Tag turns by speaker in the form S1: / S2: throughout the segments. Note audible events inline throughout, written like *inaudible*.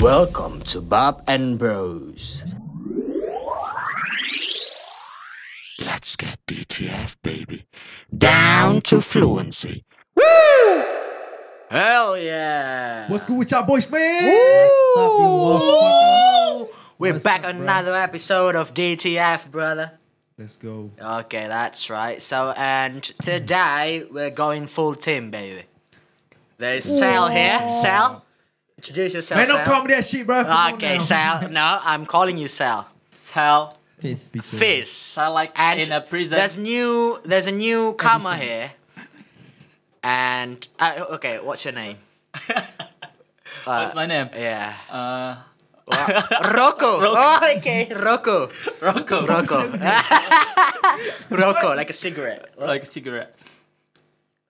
S1: Welcome to Bob and Bros.
S2: Let's get DTF, baby. Down to fluency.
S1: Hell yeah!
S3: What's good with y'all boys, man?
S4: up, you motherfucker?
S1: We're
S3: What's
S1: back
S3: up,
S1: on
S3: bro?
S1: another episode of DTF, brother.
S3: Let's go.
S1: Okay, that's right. So, and today we're going full team, baby. There's Sal here. Sal, introduce yourself.
S3: Man,
S1: Sal.
S3: don't call me that shit, bro. Come on
S1: Okay,
S3: now.
S1: Sal.
S4: *laughs*
S1: No, I'm calling you Sal.
S4: Sal.
S3: Peace. Peace.
S1: Fizz.
S4: Sal like
S1: And
S4: in a prison.
S1: There's new. There's a newcomer here. And uh, okay, what's your name?
S4: *laughs*
S1: Uh,
S4: What's my name?
S1: Yeah.
S4: Uh,
S1: *laughs*
S4: *laughs*
S1: Rocco. Oh, okay. Rocco.
S4: Rocco.
S1: Rocco. *laughs* Rocco, like a cigarette.
S4: Like cigarette.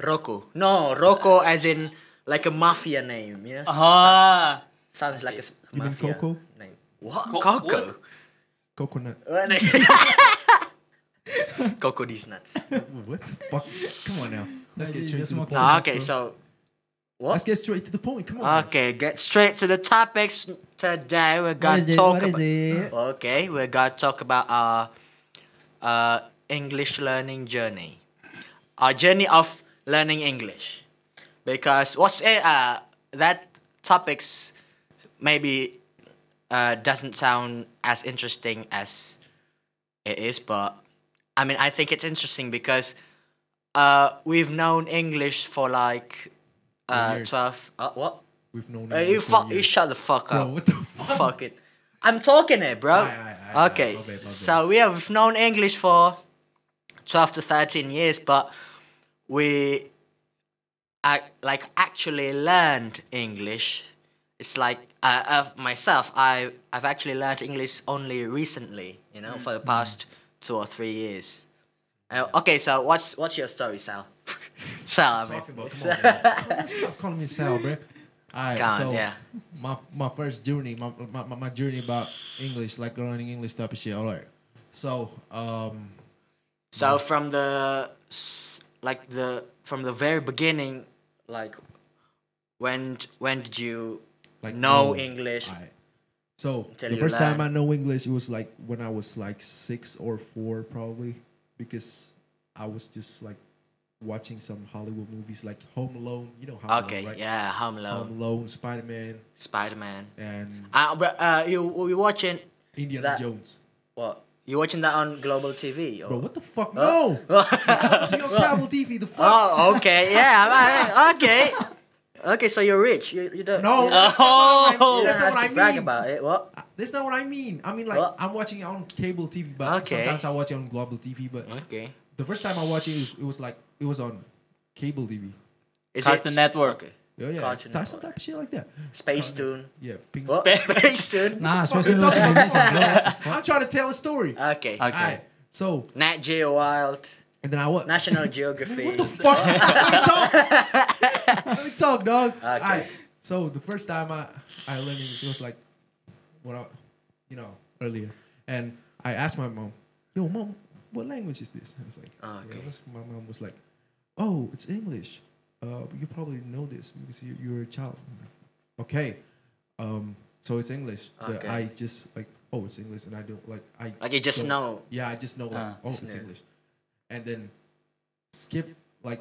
S1: Rocco. No, Rocco as in like a mafia name. Yes.
S4: Ah.
S1: Sounds like a s-
S3: You mean
S1: mafia
S3: Coco?
S1: name. What?
S4: Co-
S1: Coco.
S3: Coconut.
S1: *laughs* Coco these nuts.
S3: What the fuck? Come on now. Let's get straight to the point.
S1: No, okay, Uh, so
S3: Let's get straight to the point. Come on.
S1: okay, get straight to the topics today. We're
S3: now.
S1: gonna talk about Okay, we're gonna talk about our uh, English learning journey, our journey of learning English, because what's it? Uh, that topics maybe uh, doesn't sound as interesting as it is, but I mean I think it's interesting because uh, we've known English for like uh,
S3: years.
S1: twelve. Uh, what?
S3: We've known
S1: Uh,
S3: each
S1: you
S3: other
S1: fuck!
S3: for
S1: You
S3: years.
S1: shut the fuck
S3: Bro,
S1: up.
S3: what the fuck?
S1: Fuck it. I'm talking it, bro.
S3: Aye, aye, aye,
S1: okay.
S3: aye. My bad, my
S1: So we have known English for 12 to 13 years, but we ac like actually learned English. It's like uh, of myself, I I've actually learned English only recently, you know, for the
S3: Mm-hmm.
S1: past two or three years. Uh, okay, so what's what's your story, Sal? *laughs* Sal, I mean.
S3: Talk about- Come
S1: *laughs*
S3: on, man. Stop calling me Sal, bro. Alright,
S1: Go on,
S3: so
S1: yeah.
S3: my my first journey, my, my my- my journey about English, like learning English type of shit. All right, so um,
S1: So from the s- like the from the very beginning, like when d- when did you
S3: like
S1: know
S3: um,
S1: English?
S3: Alright. So
S1: Tell
S3: the
S1: you
S3: first
S1: lie.
S3: time I know English, it was like when I was like six or four, probably, because I was just like watching some Hollywood movies, like Home Alone. You know Home
S1: okay,
S3: Alone, right?
S1: yeah, Home Alone,
S3: Home Alone, Spider Man,
S1: Spider Man.
S3: and
S1: Uh, but, uh, you were you watching
S3: Indiana
S1: That-
S3: Jones.
S1: what? You watching that on global TV?
S3: Bro,
S1: Or?
S3: what the fuck? No, It's on cable TV. The
S1: *laughs*
S3: fuck?
S1: Oh, okay, yeah, I- I- okay, okay. So you're rich. You you don't.
S3: No,
S1: you don't,
S3: oh,
S1: you
S3: that's
S1: don't
S3: not
S1: have
S3: what I
S1: to brag
S3: mean. Ah.
S1: about it. What?
S3: That's not what I mean. I mean, like,
S1: Well-
S3: I'm watching it on cable TV, but
S1: Okay.
S3: sometimes I watch it on global TV. But
S1: Okay.
S3: the first time I watched it, it was, it was like it was on cable TV.
S1: Is
S4: Cartoon Network.
S1: Okay.
S3: Yeah, yeah,
S1: Cartoon
S3: it's type, some
S1: Network.
S3: type of shit like that.
S1: Space Tune.
S3: Yeah, pink
S1: What? *laughs*
S4: Spa-
S1: Space
S3: *laughs*
S1: Tune.
S4: Nah,
S3: Fuck, it doesn't matter. *laughs* I'm trying to tell a story.
S1: Okay.
S4: Okay.
S3: Alright, so
S1: Nat Geo Wild.
S3: and then I
S1: *laughs*
S3: what?
S1: National Geography.
S3: What the fuck? Let me talk. Let me talk, dog. Alright, so the first time I I learned English it was like when I, you know, earlier, and I asked my mom, "Yo, mom, what language is this?" And it's like,
S1: Ah,
S3: yeah,
S1: okay.
S3: that's- my mom was like, "Oh, it's English. Uh, you probably know this because you, you're a child." Okay, um, so it's English. but
S1: Okay.
S3: I just like, oh, it's English, and I don't like I.
S1: Like you just
S3: don't-
S1: know.
S3: Yeah, I just know like,
S4: Ah,
S3: oh, it's
S1: yeah.
S3: English, and then skip like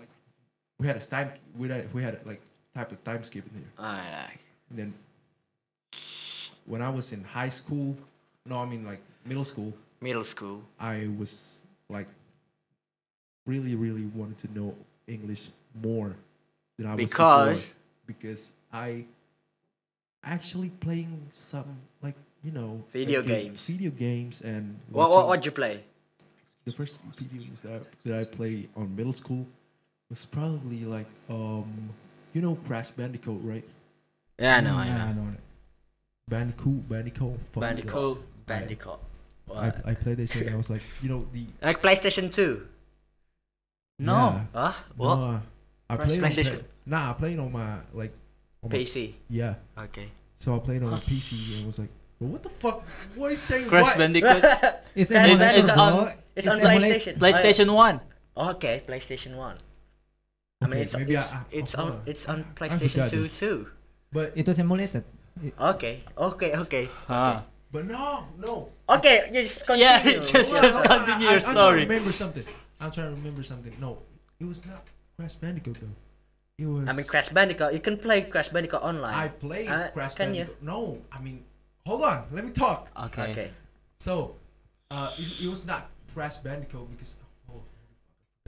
S3: we had a time we had we had like type of time skip in here.
S1: Alright.
S3: And then when I was in high school, no, I mean like middle school,
S1: Middle school.
S3: I was like really, really wanted to know English more than I was
S1: Because-
S3: before. because I actually playing some like you know
S1: Video
S3: like, uh,
S1: games.
S3: video games, and
S1: What what
S3: watching-
S1: what'd you play?
S3: the first video games that I, that I played on middle school was probably like um you know Crash Bandicoot, right?
S1: Yeah, I know, I
S3: Nah,
S1: know.
S3: know it. Bandicoot, Bandicoot, fuck yeah.
S1: Bandicoot. Bandicoot.
S3: I,
S1: What?
S3: I played this and I was like, you know the
S1: Like PlayStation 2.
S4: No.
S3: yeah,
S1: Huh? What?
S3: no, uh, I
S1: Press
S3: played on
S1: PlayStation.
S3: my, nah, I played on my like on my-
S1: PC.
S3: yeah.
S1: Okay.
S3: So I played on my PC and was like, well, what the fuck? What are you saying?
S4: Crash
S3: what?
S1: *laughs*
S4: Bandicoot.
S1: *laughs*
S5: It's
S1: That is,
S5: emulator,
S1: that is
S5: bro.
S1: on, it's on
S5: emulate-
S1: PlayStation.
S4: PlayStation 1.
S1: Oh, yeah. Okay, PlayStation 1. I mean,
S3: Okay,
S1: it's
S3: maybe
S1: it's,
S3: I- I-
S1: it's
S3: hold
S1: on
S3: on.
S1: it's on
S3: I forgot
S1: PlayStation 2
S3: this.
S1: too.
S3: But
S5: It was emulated.
S1: Okay, okay,
S3: *laughs*
S1: okay.
S4: Huh.
S3: But no, no.
S1: Okay, just continue.
S3: *laughs*
S4: Yeah, just
S3: No,
S4: just
S3: no, no, I-
S4: continue
S3: I-
S4: your
S3: I'm
S4: story.
S3: trying to remember something. I'm trying to remember something. No, it was not Crash Bandicoot though. It was.
S1: I mean, Crash Bandicoot. You can play Crash Bandicoot online.
S3: I played
S1: Uh,
S3: Crash
S1: can you?
S3: Bandicoot. No, I mean, hold on. Let me talk.
S4: Okay.
S1: Okay.
S3: So, uh, it, it was not Crash Bandicoot because oh,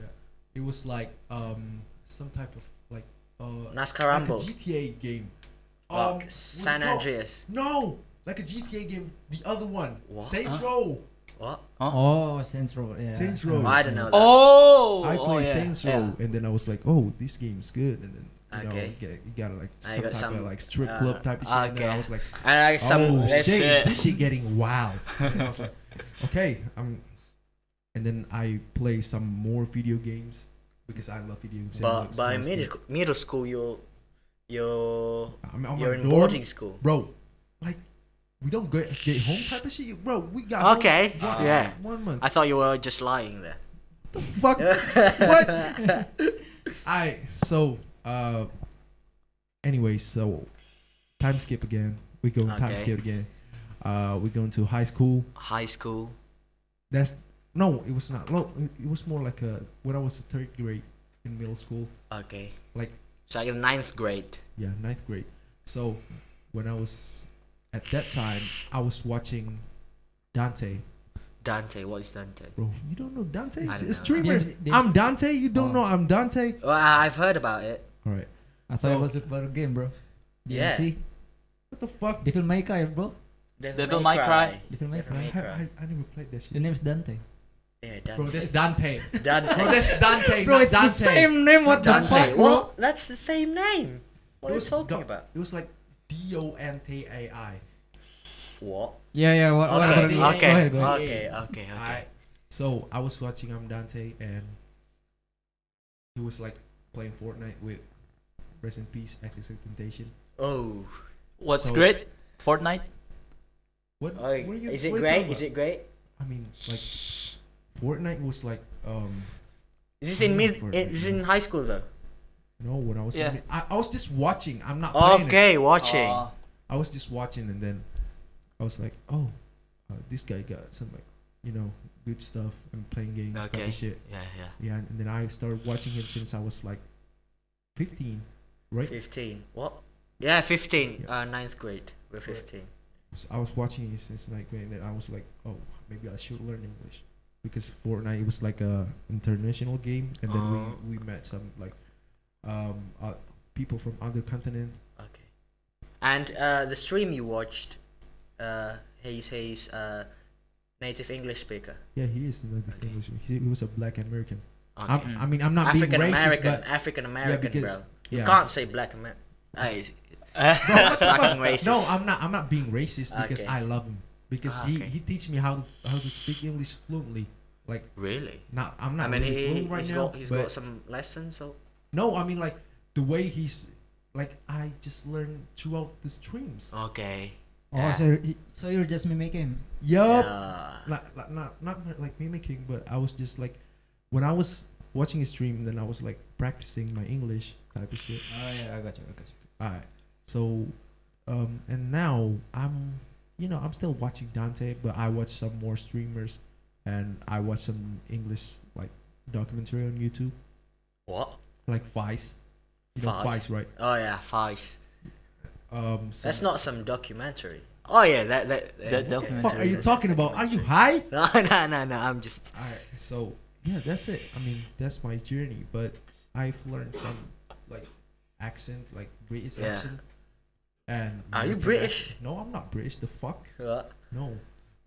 S3: yeah. it was like um some type of like uh
S1: NASCAR Rumble.
S3: like a GTA game.
S1: Like
S3: Um, what's it
S1: San
S3: called?
S1: Andreas.
S3: No, like a GTA game. The other one,
S1: What?
S3: Saints Row.
S1: What?
S5: Oh, Saints Row. Yeah.
S3: Saints Row.
S1: I don't know. That.
S4: Oh.
S3: I
S4: oh,
S3: played
S4: yeah.
S3: Saints Row, and then I was like, "Oh, this game's good," and then you know,
S1: Okay.
S3: you, get, you gotta like
S1: I
S3: some
S1: got
S3: type
S1: some,
S3: of like strip
S1: uh,
S3: club type of shit. And then
S1: okay.
S3: I was like,
S1: And like *laughs* some
S3: "Oh
S1: let's-
S3: shit,
S4: shit.
S3: this shit
S1: *laughs*
S3: getting wild." And I was like, "Okay, I'm," and then I play some more video games because I love video games. and I
S1: But
S3: like
S1: by
S3: sounds
S1: middle
S3: good.
S1: sc- middle school, you you
S3: I'm on Oh, my
S1: you're in
S3: dorm,
S1: boarding school.
S3: bro. Like, we don't get get home type of shit, bro. We got home
S1: Okay,
S3: one-
S1: yeah.
S3: one month.
S1: I thought you were just lying there.
S3: *laughs* fuck what? I so uh anyway, so time skip again. We go time
S1: Okay.
S3: skip again. Uh we going to high school.
S1: High school.
S3: That's no, it was not. No, it- it was more like a when I was in third grade in middle school,
S1: Okay.
S3: like
S1: So like in ninth grade.
S3: yeah, ninth grade. So when I was at that time, I was watching Dante.
S1: Dante, what is Dante?
S3: Bro, you don't know Dante?
S1: I don't
S3: It's
S1: know.
S3: streamer.
S5: There's- there's-
S3: I'm Dante. You don't
S5: Oh.
S3: know I'm Dante.
S1: Well, I- I've heard about it.
S3: All right.
S5: Uh-huh. I thought
S3: So-
S5: it was about a game, bro.
S1: Yeah.
S5: DMC.
S3: What the fuck?
S5: Devil May Cry, bro.
S1: Devil
S4: May Cry.
S5: Devil May
S1: Devil
S5: Cry.
S1: May
S3: I,
S1: Cry.
S3: I, I never played that shit.
S5: The name's Dante.
S1: Yeah,
S3: Bro,
S1: Dante.
S3: that's Dante. Bro,
S1: *laughs* Dante.
S3: that's
S5: *laughs*
S3: Dante.
S5: Bro,
S3: not
S5: it's
S3: Dante.
S5: the same name. What the
S1: Dante.
S5: fuck, bro?
S1: Well, that's the same name. What
S3: It
S1: are you
S3: was
S1: talking
S3: do-
S1: about?
S3: It was like D O N T A I.
S1: What?
S5: Yeah, yeah. What? what-
S1: Okay,
S5: what-
S1: okay,
S5: what- Go ahead, go ahead.
S1: okay, okay, okay.
S3: Alright. So I was watching um Dante and he was like playing Fortnite with Rest in Peace, Exorcist Temptation.
S1: Oh,
S4: What's
S3: So-
S4: great? Fortnite.
S3: What,
S1: oh,
S3: what are you
S1: is it
S3: what are you talking
S1: great? Is
S3: about?
S1: it great?
S3: I mean, like Fortnite was like um
S1: Is this in
S3: I'm
S1: mid?
S3: not for it,
S1: Is this in high school though?
S3: no when I was in
S4: Yeah.
S3: the- I, I was just watching. I'm
S1: Oh,
S3: not playing it.
S1: Okay, watching.
S4: Oh.
S3: I was just watching, and then I was like, oh, uh, this guy got some like, you know, good stuff and playing games, stuff
S1: okay.
S3: and shit.
S1: Yeah, yeah.
S3: Yeah, and, and then I started watching him since I was like 15, right?
S1: 15. What? Yeah, 15. Uh, ninth grade. We're 15.
S3: So I was watching him since like when then I was like, oh, maybe I should learn English because Fortnite it was like a international game, and then
S1: Oh.
S3: we we met some like um uh, people from other continent.
S1: Okay. And uh, the stream you watched, uh, he's he's uh, native English speaker.
S3: Yeah, he is like
S1: Okay.
S3: English. He, he was a black American.
S1: Okay.
S3: I'm, I mean, I'm not
S1: African
S3: being racist,
S1: American.
S3: but
S1: African American,
S3: because-
S1: bro. You
S3: yeah.
S1: can't say black American. Uh, *laughs* it's- *laughs*
S3: No, what the
S1: fucking
S3: fuck?
S1: racist.
S3: No, I'm not. I'm not being racist because
S1: Okay.
S3: I love him. Because
S1: Ah,
S3: he
S1: okay.
S3: he teach me how to how to speak English fluently. Like
S1: really?
S3: not I'm
S1: I
S3: not
S1: mean,
S3: really
S1: he,
S3: fluent
S1: he-
S3: right
S1: he's
S3: now.
S1: got he's
S3: but
S1: got some lessons. So
S3: no, I mean like the way he's like I just learned throughout the streams.
S1: okay.
S5: Oh, so you're, so you're just mimicking.
S3: Yup.
S1: Yeah.
S3: Not, not not not like mimicking, but I was just like when I was watching his stream, and then I was like practicing my English type of shit.
S5: Oh yeah, I got you. I got you.
S3: Alright. So, um, and now I'm, you know, I'm still watching Dante, but I watch some more streamers, and I watch some English like documentary on YouTube,
S1: What?
S3: like Vice. You know
S1: Vice.
S3: Vice, right?
S1: Oh yeah, Vice.
S3: Um, so
S1: That's not some documentary. Oh yeah, that that. that-
S4: That
S1: okay.
S3: fuck are
S4: documentary.
S3: you talking about? Are you high?
S1: *laughs* No, no, no, no. I'm just.
S3: Alright. So yeah, that's it. I mean, that's my journey, but I've learned some like accent, like British
S1: Yeah.
S3: accent. And
S1: Are you
S3: American
S1: British?
S3: accent. No, I'm not British. The fuck.
S1: What?
S3: No,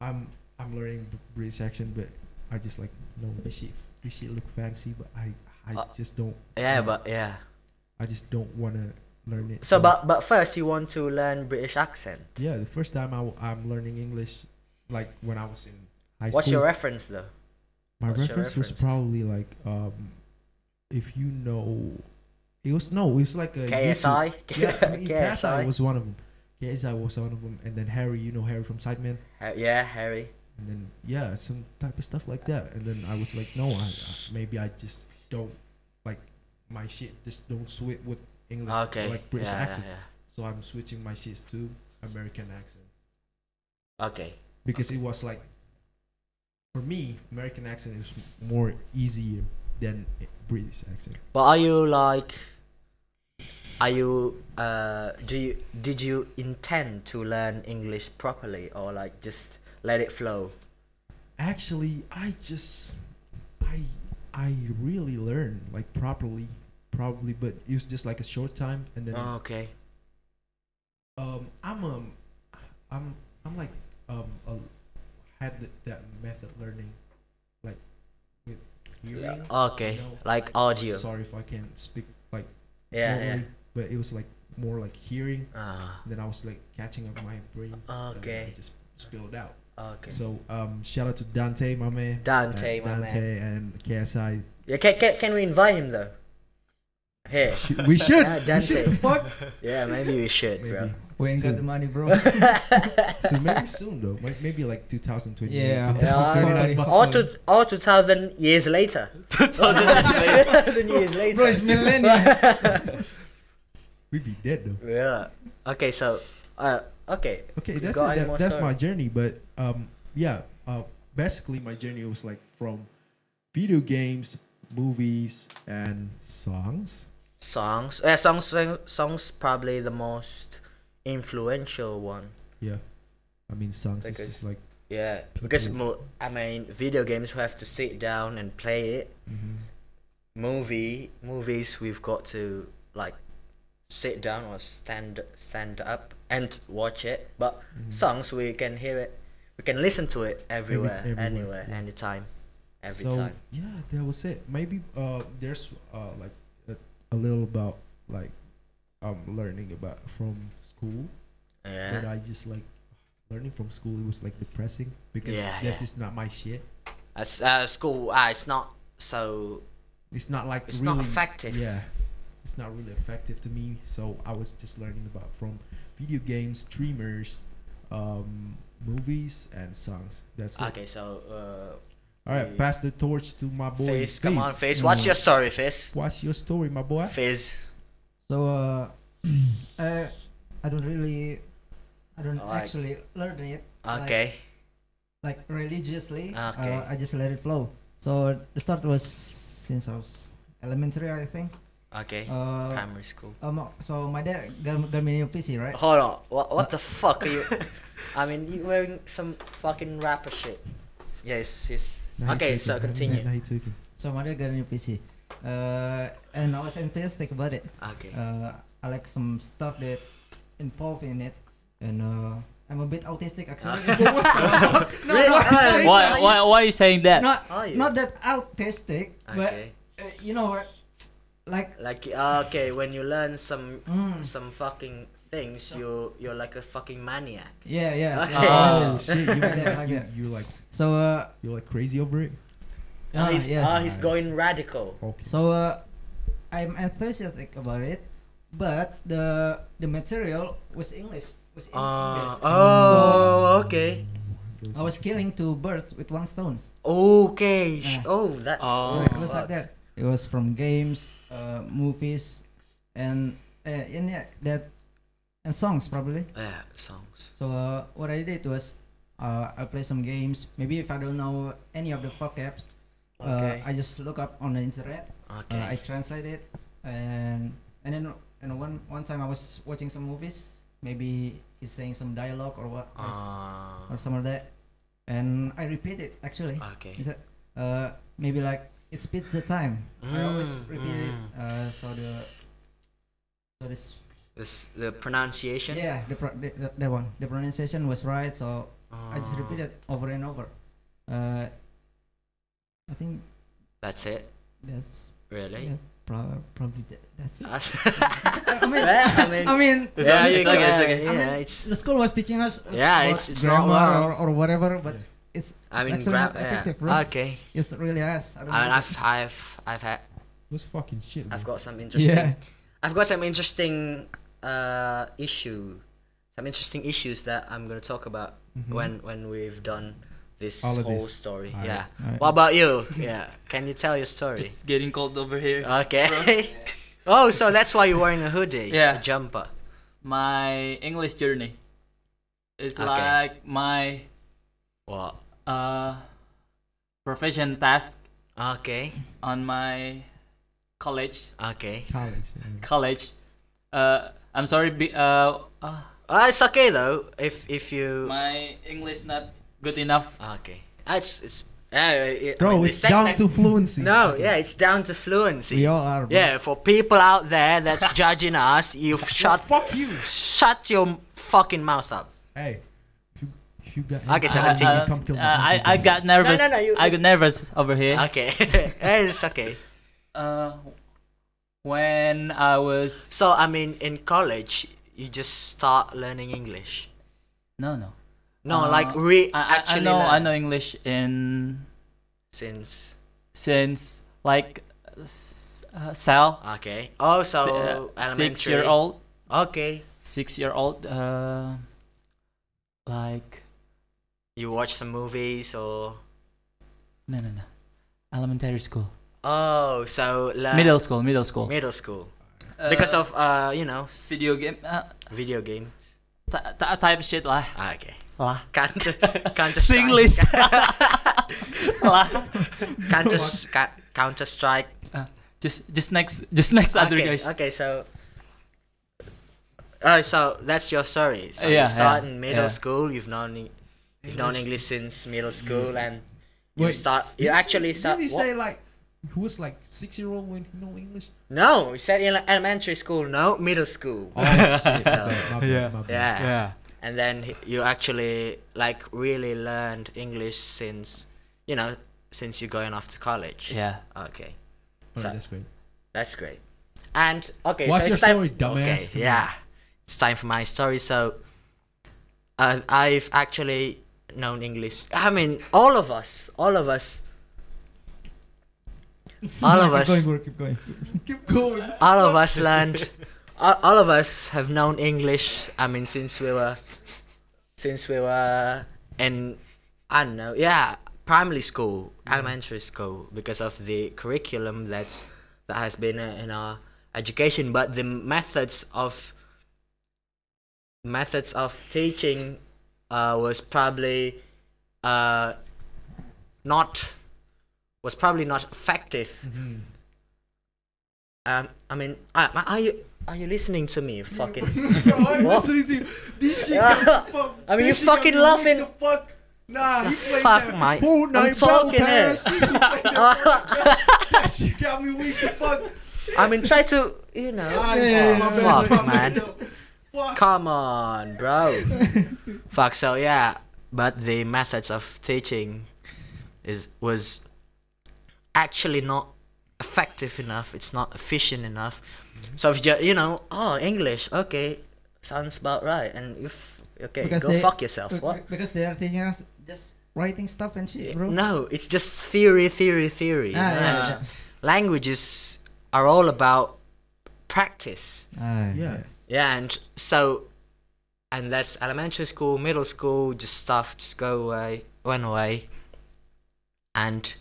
S3: I'm I'm learning B- British accent, but I just like no this shit. This shit look fancy, but I I
S1: Uh,
S3: just don't.
S1: Yeah, but yeah.
S3: I just don't wanna learn it.
S1: So, but but first, you want to learn British accent.
S3: yeah, the first time I w- I'm learning English, like when I was in high
S1: What's your
S3: school. Uh,
S1: reference though?
S3: my
S1: what's your
S3: reference was
S1: reference?
S3: probably like um, if you know, it was no, it was like a
S1: KSI. *laughs*
S3: YouTube- Yeah, I mean, KSI
S1: KSI.
S3: was one of them. KSI was one of them, and then Harry, you know Harry from Sidemen.
S1: Ha- Uh, yeah, Harry.
S3: and then yeah, some type of stuff like that. And then I was like, no, I, I maybe I just don't like my shit. Just don't switch with English
S1: Okay.
S3: like British
S1: yeah,
S3: accent.
S1: Yeah,
S3: So I'm switching my shit to American accent
S1: Okay.
S3: because it was like for me American accent is more easier than British accent.
S1: But are you like? Are you? Uh, do you? Did you intend to learn English properly, or like just let it flow?
S3: Actually, I just I I really learned like properly probably but it was just like a short time and then
S1: Oh, okay.
S3: um I'm um I'm I'm like um a, had th- that method learning like with hearing
S1: Okay.
S3: No.
S1: Like audio.
S3: sorry if I can't speak like
S1: Yeah. Yeah.
S3: normally, but it was like more like hearing
S1: Ah.
S3: then I was like catching up my brain and then
S1: Okay.
S3: I just spilled out
S1: Okay.
S3: so um shout out to Dante my man
S1: Dante,
S3: Uh,
S1: my man.
S3: Dante and KSI
S1: Yeah. Can, can, can we invite him though? Here. *laughs*
S3: Should- we should
S1: Yeah,
S3: we should
S1: Dante.
S3: the fuck
S1: Yeah. Maybe we should, bro.
S3: maybe
S5: We ain't got the money, bro.
S3: so maybe soon though May- maybe like 2020
S5: Yeah.
S3: 2029
S5: Yeah.
S1: Or to or two thousand years
S4: *laughs*
S1: later.
S4: 2000 years
S1: *laughs*
S4: later.
S1: 2000 years later.
S5: *laughs* bro, it's millennium.
S3: we'd be dead though
S1: Yeah. Okay, so, uh, okay.
S3: Okay,
S1: You
S3: that's
S1: got
S3: it.
S1: any
S3: That,
S1: more
S3: that's
S1: story?
S3: my journey. But um, yeah, uh, basically my journey was like from video games, movies, and songs.
S1: songs. Uh, songs, song- songs probably the most influential one.
S3: Yeah, I mean songs
S1: Okay.
S3: is just like
S1: Yeah, because
S3: Because-
S1: mo- I mean, video games we have to sit down and play it. Movie, movies we've got to like sit down or stand stand up and watch it. But songs we can hear it, we can listen to it everywhere,
S3: everywhere,
S1: anywhere,
S3: yeah.
S1: anytime, every
S3: so.
S1: time.
S3: Yeah, that was it. Maybe uh, there's uh like a, a little about like um learning about from school,
S1: Yeah.
S3: but I just like learning from school. It was like depressing because
S1: Yeah, yeah.
S3: that's just not my shit.
S1: At uh, school, uh, it's not so.
S3: it's not like
S1: It's
S3: really,
S1: not effective.
S3: Yeah, it's not really effective to me. So I was just learning about from video games, streamers, um, movies, and songs. That's it.
S1: Okay, so uh,
S3: All right, pass the torch to my boy.
S1: Fizz, come on,
S3: Fizz.
S1: Fizz. What's your story, Fizz?
S3: What's your story, my boy?
S1: Fizz.
S5: So uh, *clears throat* I, I don't really, I don't
S1: Like-
S5: actually learn it.
S1: Okay.
S5: Like, like religiously.
S1: Ah, Okay.
S5: Uh, I just let it flow. So the start was since I was elementary, I think.
S1: Okay.
S5: Uh,
S1: Primary school.
S5: um, so my dad got, got me a PC, right?
S1: Hold on. What, what the fuck are you? I mean, you wearing some fucking rapper shit. Yes, yes.
S3: Nah, he
S1: Okay,
S3: took
S1: so
S3: it.
S1: continue.
S3: Nah, he took it.
S5: So my dad got me a PC. Uh, and I was enthusiastic about it.
S1: Okay.
S5: Uh, I like some stuff that involved in it, and uh, I'm a bit
S1: *laughs*
S5: autistic *laughs* actually. Uh,
S1: Ah.
S5: no,
S1: Really?
S5: not-
S1: Why-
S4: Why, why, why are you saying that?
S5: not
S1: Are you?
S5: not that autistic, but
S1: Okay.
S5: uh, you know what? Like
S1: Like okay, when you learn some
S5: Mm.
S1: some fucking things, you you're like a fucking maniac.
S5: yeah, yeah.
S1: Okay.
S5: yeah.
S3: Oh
S1: *laughs*
S4: Ah.
S3: shit! You,
S5: Yeah, like
S3: you,
S5: that.
S3: you like
S5: So uh,
S3: you like crazy over it?
S1: oh,
S5: ah,
S1: he's,
S5: yes.
S1: oh, he's
S3: Nice.
S1: going radical.
S3: Okay.
S5: so uh, I'm enthusiastic about it, but the the material was English. Was in
S1: Uh,
S5: English.
S1: oh, okay.
S5: I was killing two birds with one stone.
S1: Okay.
S5: Yeah.
S1: sh- Oh, that's.
S5: So
S4: Oh,
S5: it was like
S1: fuck.
S5: that. It was from games, uh, movies, and uh, and yeah, that and songs probably.
S1: Yeah, songs.
S5: So uh, what I did was uh, I play some games. Maybe if I don't know any of the vocabs,
S1: Okay.
S5: uh, I just look up on the internet.
S1: Okay.
S5: Uh, I translate it, and and then and one one time I was watching some movies. Maybe he's saying some dialogue or what or s-
S1: Ah,
S5: or some of that, and I repeat it actually.
S1: okay.
S5: Is that uh, maybe like it speeds the time. I always
S1: Mm,
S5: repeat
S1: mm.
S5: it. Uh, so the so this
S1: This, the pronunciation.
S5: yeah the, pro- the, the that one the pronunciation was right. So I just
S1: Ah,
S5: repeat it over and over. Uh, I
S1: Oh,
S5: think
S1: That's it.
S5: that's
S1: Really.
S5: yeah, pro- probably that,
S1: *laughs*
S5: that's it.
S1: That's-
S5: *laughs* I mean,
S1: Well, *laughs* I mean,
S5: *laughs* I mean
S1: yeah,
S4: it's
S1: you
S4: okay, it's
S1: can-
S4: okay.
S1: yeah,
S5: I mean,
S1: it's.
S5: the school was teaching us uh, was
S1: Yeah,
S5: about
S1: it's- it's not
S5: grammar
S1: wrong.
S5: or, or whatever, but it's
S1: I
S5: it's
S1: mean,
S5: actually
S1: grab,
S5: not effective,
S1: yeah.
S5: bro.
S1: Okay.
S5: It's really us. I don't
S1: I mean,
S5: know.
S1: I've, I've, I've had,
S3: What's fucking shit?
S1: I've
S3: bro?
S1: got some interesting. I've got some interesting uh, issue, some interesting issues that I'm gonna talk about
S5: Mm-hmm.
S1: when when we've done this
S3: All of
S1: whole
S3: this.
S1: story.
S3: Alright.
S1: Yeah.
S5: Alright.
S1: What about you? *laughs* yeah. Can you tell your story?
S4: It's getting cold over
S1: Uh.
S4: here.
S1: okay. *laughs* oh, so that's why you're wearing a hoodie. A
S4: Yeah.
S1: jumper.
S4: My English journey. It's
S1: Okay.
S4: like my
S1: What?
S4: uh profession task
S1: Okay.
S4: on my college
S1: Okay.
S3: College.
S4: college. Uh, I'm sorry. Be, uh, uh,
S1: Uh, it's okay though. If if you.
S4: my English not good enough.
S1: Okay. Uh, it's it's. Uh, it, I
S3: Bro,
S1: mean,
S3: it's
S1: the
S3: down
S1: setback-
S3: to fluency.
S1: No, yeah, it's down to fluency.
S5: We all are. bro.
S1: Yeah, for people out there
S3: *laughs*
S1: that's judging us, you've shut
S3: Fuck you.
S1: shut your fucking mouth up.
S3: Hey, you, you got.
S1: Okay, so
S4: Uh,
S1: continue.
S4: uh,
S3: Come kill me,
S4: uh,
S3: come
S4: I,
S3: kill
S4: I
S3: me.
S4: got nervous.
S1: no, you-
S4: I got nervous over here.
S1: Okay, *laughs* Eh, it's okay.
S4: Uh, when I was
S1: So I mean, in college, you just start learning English.
S4: no no
S1: No,
S4: Uh,
S1: like re
S4: I- I, I
S1: actually
S4: know I
S1: learn
S4: know English in
S1: since.
S4: since like s- uh, Sal
S1: Okay. Oh, so
S4: si- uh,
S1: elementary.
S4: six year old
S1: Okay.
S4: six year old uh, like
S1: You watch some movies or
S4: no no no elementary school
S1: oh, so learn
S4: middle school middle school
S1: middle school
S4: Uh,
S1: because of uh you know s-
S4: video game uh,
S1: video game.
S4: ta- ta- type shit lah
S1: Ah, okay.
S4: lah
S1: Counter
S4: *laughs*
S1: Counter
S4: Singlish
S1: *laughs*
S4: lah
S1: Counter Ca- Counter Strike.
S4: Uh, *laughs* just just next just next other
S1: okay,
S4: guys
S1: Okay, so. Oh, so that's your story. So you
S4: Yeah,
S1: start
S4: yeah,
S1: in middle
S4: yeah.
S1: school. You've known Eng- you've known English since middle school, and you
S3: Mm. Wait,
S1: start. You
S3: did
S1: actually
S3: say-
S1: start.
S3: Did he
S1: what?
S3: say like he was like six year old when he know *laughs* English?
S1: No, he said in elementary school. No, middle school.
S3: Oh,
S1: *laughs*
S3: yeah.
S1: Yeah. And then he- you actually like really learned English since you know since you're going off to college.
S4: yeah
S1: Okay,
S3: Alright, that's great.
S1: that's great. And okay,
S3: What's
S1: so
S3: your
S1: it's time-
S3: story, dumbass?
S1: Okay, yeah, it's time for my story. So, uh, I've actually known English. I mean, all of us, all of us, all
S3: *laughs*
S1: of us,
S5: Keep going, bro. Keep going.
S3: Keep going. *laughs*
S1: all of us learned all, all of us have known english i mean since we were since we were in i don't know yeah primary school elementary school because of the curriculum that's that has been uh, in our education but the methods of methods of teaching uh, was probably uh, not was probably not effective um, I mean, I, I- are you are you listening to me? Fucking. *laughs*
S3: Yo, I'm
S1: What?
S3: listening to you. This shit.
S1: Yeah.
S3: got me fuck-
S1: *laughs* I mean,
S3: this
S1: you
S3: shit got
S1: fucking
S3: me weak
S1: laughing.
S3: the Fuck. Nah, he played
S1: fuck,
S3: that.
S1: mate.
S3: Pool
S1: I'm
S3: night,
S1: talking here.
S3: bro, Paris. He played
S1: *laughs*
S3: that. That shit got me weak the fuck.
S1: I mean, try to you know.
S3: Ah, yeah, my bad,
S1: Fuck,
S3: my bad. Fuck.
S1: Come on,
S3: *laughs*
S1: bro. Fuck. So yeah, but the methods of teaching is was actually not effective enough. It's not efficient enough.
S3: Mm-hmm.
S1: So if you you know, oh English, okay, sounds about right. And if okay, go fuck yourself.
S5: be-
S1: What?
S5: Because they are teaching us just writing stuff and shit, bro.
S1: No, it's just theory, theory, theory.
S5: Ah, yeah,
S1: And
S5: yeah.
S1: Languages are all about practice.
S5: Ah,
S3: Yeah.
S1: Yeah, and so, and that's elementary school, middle school, just stuff just go away, went away, and.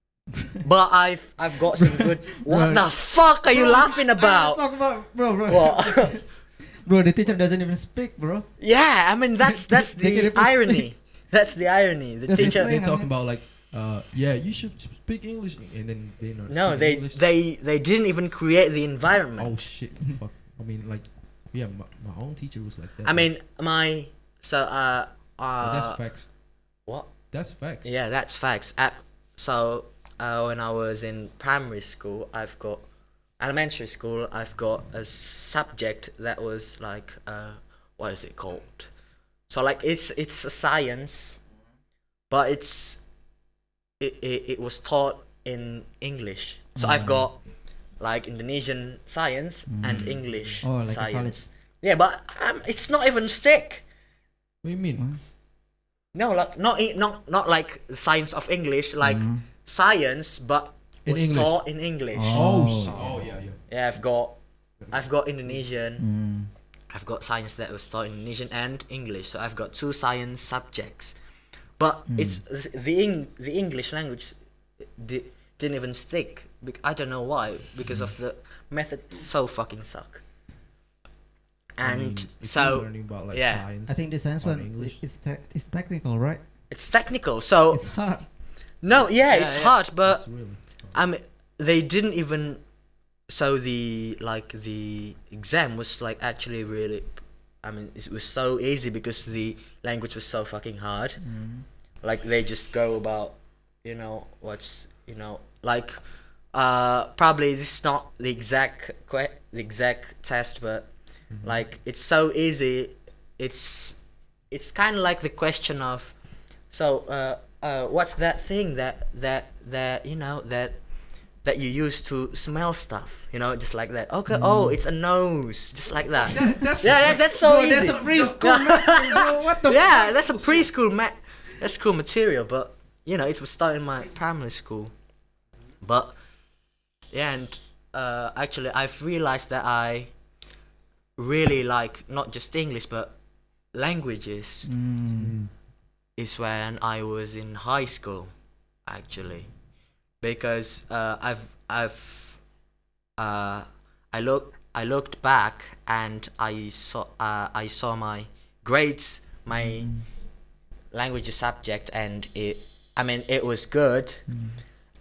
S5: *laughs*
S1: but I've I've got some good. What the fuck are you laughing
S5: Ah,
S1: about?
S5: Talk about, bro, bro.
S1: What?
S5: *laughs* Bro, the teacher doesn't even speak, bro.
S1: *laughs* yeah, I mean that's that's
S5: They
S1: the
S5: can
S1: irony. That's the irony. The
S5: Does it
S1: teacher
S3: They
S5: Hang on,
S3: talk
S5: man.
S3: about like, uh, yeah, you should speak English, and then they not.
S1: No,
S3: speaking
S1: they
S3: English.
S1: they they didn't even create the environment.
S3: Oh shit! Fuck. I mean, like, yeah, my, my own teacher was like that.
S1: I mean, my so uh
S5: Oh,
S3: But
S1: uh
S3: that's facts.
S1: what?
S3: That's facts.
S1: Yeah, that's facts. At, so uh, when I was in primary school, I've got elementary school. I've got a subject that was like uh what is it called? So like it's it's a science, but it's it it, it was taught in English. So I've
S5: Mm.
S1: got like Indonesian science and English
S5: Oh, like a
S1: science. Yeah, but um, it's not even stick.
S3: What do you mean?
S1: No, like not e- not not like science of English, like science, but
S3: In
S1: was
S3: English.
S1: taught in English.
S3: Oh, shit. Oh yeah, yeah.
S1: Yeah, I've got, I've got Indonesian, I've got science that was taught in Indonesian and English. So I've got two science subjects, but it's the Eng, the English language di- didn't even stick. Bec- I don't know why, because of the method so fucking suck. and
S3: mean, if
S1: so
S3: you're learning about like
S1: yeah.
S3: science.
S5: I think the science
S3: on
S5: one
S3: English.
S5: it's te- it's technical, right?
S1: it's technical. So
S5: It's hard.
S1: no, yeah,
S4: Yeah,
S1: it's
S4: yeah.
S1: hard, but
S3: it's really
S1: I mean, they didn't even. So the like the exam was like actually really. I mean, it was so easy because the language was so fucking hard. Like they just go about, you know, what's you know, like, uh, probably this is not the exact que- the exact test, but like it's so easy. It's it's kind of like the question of, so uh, uh, what's that thing that that that you know that that you use to smell stuff? You know, just like that. Okay, oh, it's a nose, just like
S3: *laughs*
S1: that.
S3: That- that's-
S1: yeah, *laughs* that's, that's so
S3: bro,
S1: easy.
S3: that's a
S1: *laughs*
S3: preschool math- what the
S1: yeah,
S3: fuck?
S1: that's a preschool ma- that's cool material, but you know, it was starting my primary school. But yeah, and uh, actually, I've realized that I really like not just English but languages
S3: Mm.
S1: is when I was in high school, actually, because uh, I've I've uh, I look I looked back and I saw uh, I saw my grades, my
S3: Mm.
S1: language subject, and it I mean it was good,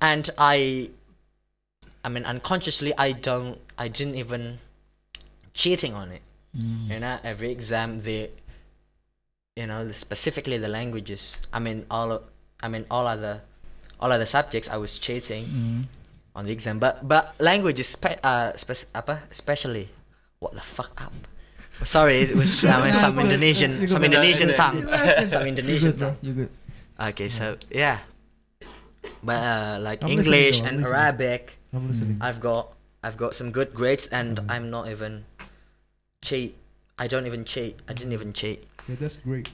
S1: and I I mean unconsciously I don't I didn't even cheating on it. You know, every exam the you know the, specifically the languages. I mean all of, I mean all other all other subjects I was cheating on the exam, but but languages spe- uh spe- apa especially what the fuck up. Sorry, it was I mean, some Indonesian some Indonesian tongue some Indonesian tongue.
S5: You good?
S1: Okay, so yeah, but uh, like
S3: I'm listening,
S1: English
S3: though, I'm
S1: and
S3: listening.
S1: Arabic.
S3: I'm listening.
S1: I've got I've got some good grades and I'm not even cheat. I don't even cheat. I didn't even cheat.
S3: Yeah, that's great.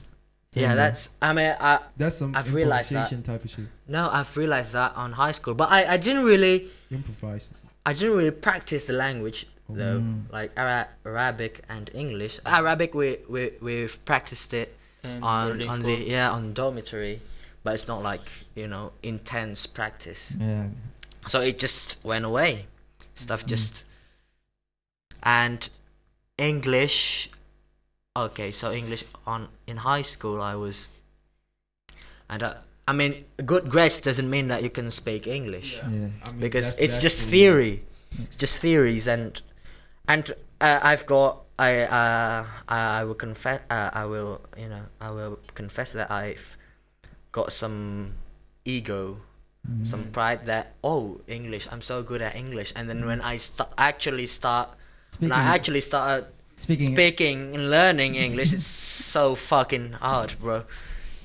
S1: yeah, that's I mean I
S3: That's some
S1: I've realized that.
S3: improvisation type of shit.
S1: no, I've realized that on high school, but I I didn't really
S3: Improvise.
S1: I didn't really practice the language though, like Ara- Arabic and English. Arabic we we we've practiced it
S4: In
S1: on
S4: boarding
S1: on
S4: school.
S1: the yeah on dormitory, but it's not like you know intense practice.
S5: Yeah.
S1: so it just went away stuff just and english okay so english on in high school i was and i, I mean good grades doesn't mean that you can speak english
S5: Yeah.
S3: I mean,
S1: because
S3: Mm, that's-
S1: it's
S3: that's
S1: just
S3: the-
S1: theory it's just theories and and uh, i've got i uh i I will confess uh, i will you know i will confess that i've got some ego
S3: Mm-hmm.
S1: some pride that oh english i'm so good at english and then when i st- actually start when i
S5: Speaking-
S1: actually start
S5: Speaking.
S1: speaking and learning english it's so fucking hard bro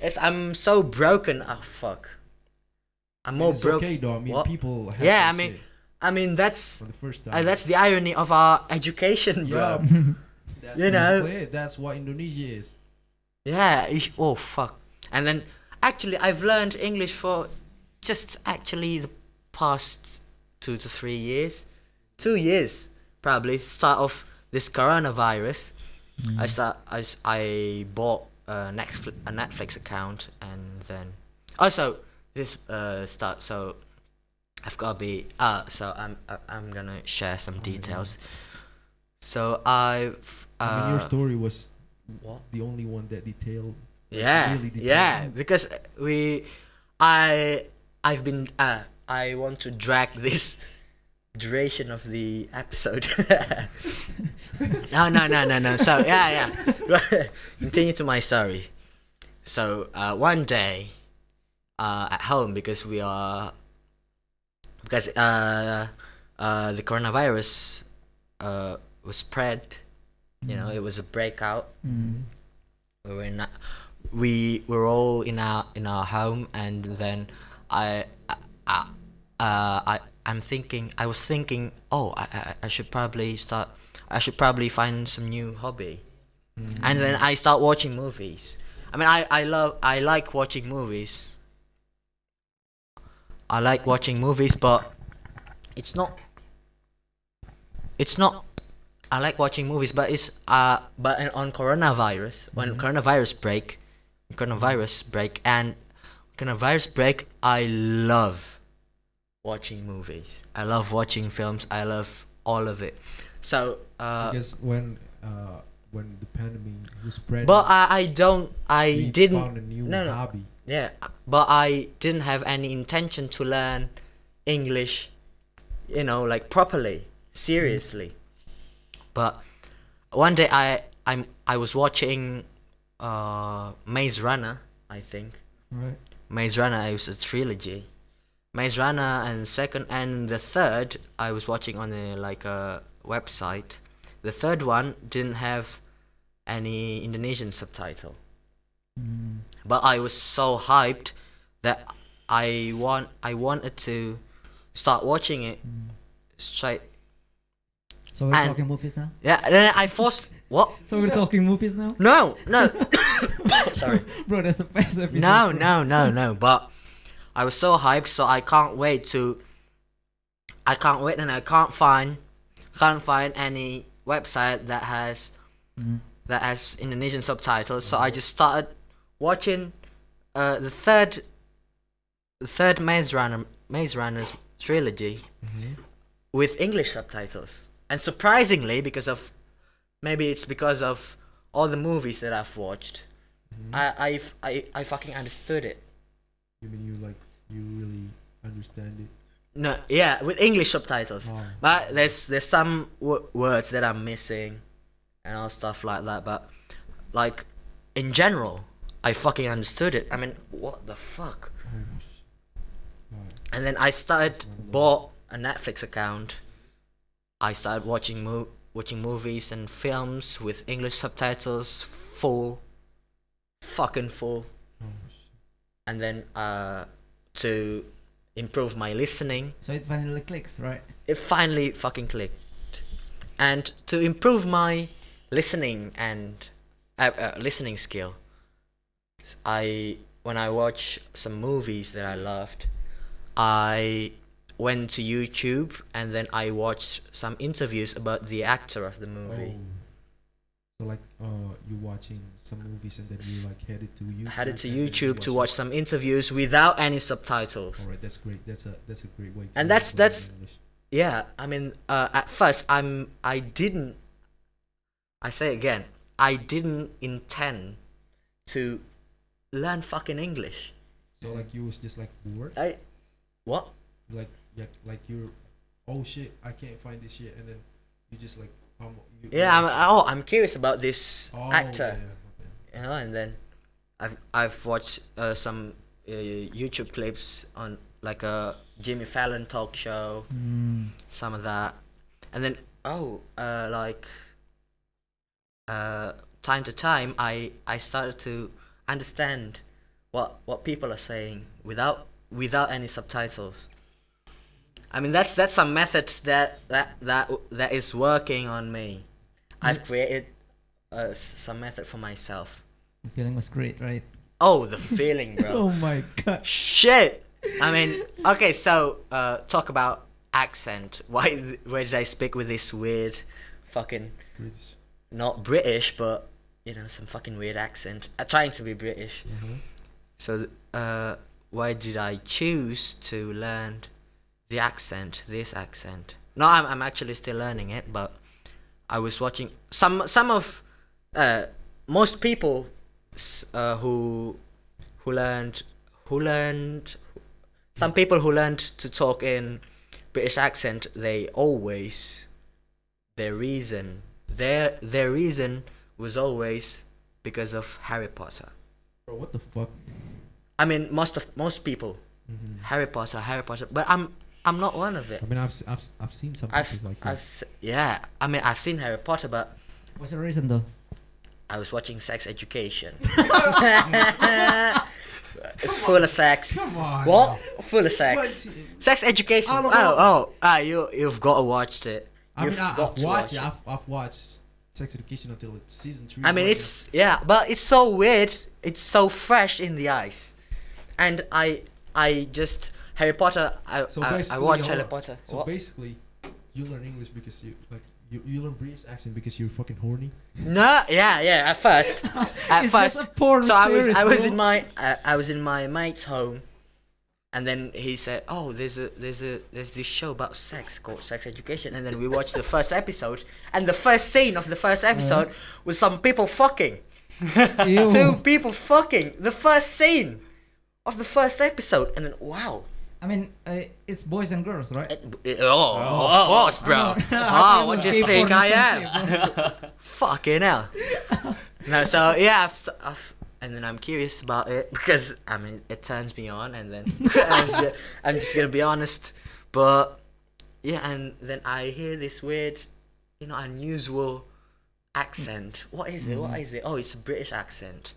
S1: it's i'm so broken oh fuck i'm more
S3: It's
S1: broken
S3: okay though. I mean,
S1: What?
S3: people. Have
S1: yeah, I
S3: that
S1: mean,
S3: shit
S1: I mean that's
S3: for the first time.
S1: uh, that's the irony of our education,
S5: *laughs*
S3: yeah.
S1: bro.
S3: that's
S1: You know.
S3: basically it. that's what Indonesia is.
S1: Yeah. ish- Oh fuck. And then actually, I've learned English for just actually the past two to three years, two years probably. Start of this coronavirus,
S3: Mm.
S1: I start I, s- I bought a Netflix, a Netflix account and then also this uh start so I've got to be uh so I'm I- I'm gonna share
S3: Oh,
S1: some details. So I've uh,
S3: I mean, your story was
S1: what?
S3: the only one that detailed.
S1: yeah
S3: really detailed.
S1: yeah because we i i've been uh i want to drag *laughs* this duration of the episode *laughs* no no no no no so yeah yeah *laughs* continue to my story so uh one day uh at home because we are because uh uh the coronavirus uh was spread you know it was a breakout
S5: mm,
S1: we were in a- we were all in our in our home and then i i I- uh, i i'm thinking i was thinking oh I, I i should probably start i should probably find some new hobby and then i start watching movies i mean i i love i like watching movies i like watching movies but it's not it's not I like watching movies, but it's uh, but in- on coronavirus when coronavirus break, coronavirus break and coronavirus break, I love watching movies. I love watching films. I love all of it. So uh,
S3: Because when uh, when the pandemic was spreading.
S1: But I, I don't. I
S3: we
S1: didn't.
S3: found a new
S1: no, no.
S3: hobby.
S1: Yeah, but I didn't have any intention to learn English, you know, like properly, seriously. But one day I I'm I was watching uh Maze Runner, I think.
S5: Right.
S1: Maze Runner it was a trilogy. Maze Runner and second and the third I was watching on a like a website. The third one didn't have any Indonesian subtitle but I was so hyped that I want I wanted to start watching it straight.
S5: So we're
S1: And-
S5: talking movies now.
S1: Yeah, and then I forced what?
S5: So we're talking movies now, *laughs*
S1: No, no, sorry,
S5: bro. That's the best episode.
S1: no,
S5: bro.
S1: no, no, no. But I was so hyped, so I can't wait to. I can't wait, and I can't find, can't find any website that has that has Indonesian subtitles. So I just started watching uh, the third, the third Maze Runner, Maze Runner's trilogy, with English subtitles. And surprisingly, because of maybe it's because of all the movies that I've watched, I, I've, I I fucking understood it.
S3: You mean you like you really understand it?
S1: No, yeah, with English subtitles.
S3: Oh.
S1: But there's there's some w- words that I'm missing, and all stuff like that. But like in general, I fucking understood it. I mean, what the fuck?
S3: Oh,
S1: And then I started bought a Netflix account. I started watching mo- watching movies and films with English subtitles, full, fucking full.
S3: oh,
S1: And then uh, to improve my listening,
S5: So it finally clicks, right?
S1: it finally fucking clicked. And to improve my listening and uh, uh, listening skill, I when I watch some movies that I loved, I went to YouTube and then I watched some interviews about the actor of the movie.
S3: So like, uh, you watching some movies and then you like headed to YouTube.
S1: Headed to
S3: and then you
S1: YouTube to watch
S3: Oh, watch
S1: some interviews without any subtitles.
S3: All right, that's great. That's a that's a great way. To
S1: And that's-
S3: learn
S1: that's-
S3: English.
S1: Yeah, I mean, uh, at first I'm I didn't. I say again, I didn't intend to learn fucking English.
S3: So like you was just like bored,
S1: I what?
S3: like yeah, like you're, oh shit, I can't find this shit, and then you just like um. You,
S1: Yeah, I'm, oh, I'm curious about this
S3: oh,
S1: actor. You
S3: yeah, okay.
S1: know, and then I've I've watched uh, some uh, YouTube clips on like a Jimmy Fallon talk show,
S5: Mm.
S1: some of that, and then oh, uh, like uh, time to time, I I started to understand what what people are saying without without any subtitles. I mean that's that's some methods that that that that is working on me. I've created uh, s- some method for myself.
S5: The feeling was great, right?
S1: Oh, the feeling, bro.
S5: *laughs* Oh my gosh.
S1: Shit. I mean, okay, so uh, talk about accent. Why? Where did I speak with this weird, fucking
S3: British.
S1: not British, but you know, some fucking weird accent. Uh, trying to be British. Mm-hmm. So, th- uh, why did I choose to learn the accent, this accent? No, I'm, I'm actually still learning it, but I was watching some some of uh, most people s- uh, who who learned who learned some people who learned to talk in British accent. They always their reason their their reason was always because of Harry Potter.
S3: Bro, what the fuck?
S1: I mean, most of most people,
S3: Mm-hmm.
S1: Harry Potter, Harry Potter. But I'm I'm not one of it.
S3: I mean, I've s- I've s- I've seen some
S1: I've
S3: people like
S1: I've
S3: that.
S1: s- yeah. I mean, I've seen Harry Potter, but
S5: What's the reason though?
S1: I was watching Sex
S3: *laughs*
S1: Education. it's full of sex.
S3: Come on.
S1: What? Full of sex.
S3: What?
S1: Sex Education.
S3: All
S1: Oh,
S3: of what?
S1: oh, ah, you you've got to watch it.
S3: I mean,
S1: You've
S3: I, I've
S1: got
S3: watched
S1: to watch
S3: it. I've, I've watched Sex Education until it's season three.
S1: I mean,
S3: right
S1: it's yeah, but it's so weird. It's so fresh in the eyes, and I, I just Harry Potter. I
S3: now. So
S1: I, I
S3: basically,
S1: watch
S3: hold
S1: Harry
S3: on.
S1: Potter.
S3: So
S1: What?
S3: basically, you learn English because you like you, you learn British accent because you're fucking horny.
S1: No, yeah, yeah. At
S5: *laughs*
S1: first, at
S5: It's
S1: first.
S5: just a porn
S1: so I was
S5: series,
S1: I was
S5: bro.
S1: in my uh, I was in my mate's home, and then he said, "Oh, there's a there's a there's this show about sex called Sex Education." And then we watched the first episode, and the first scene of the first episode
S5: Mm-hmm.
S1: was some people fucking, two people fucking. The first scene of the first episode, and then wow.
S5: I mean, uh, it's boys and girls, right?
S1: It- it- oh, of course,
S5: *laughs*
S1: bro. Ah, what do you think I am? Fucking hell. no, so yeah, I've, si have and then I'm curious about it because I mean it turns me on, and then *laughs* I'm, just, I'm just gonna be honest, but yeah, and then I hear this weird, you know, unusual accent. What is it? What is it? Oh, it's a British accent.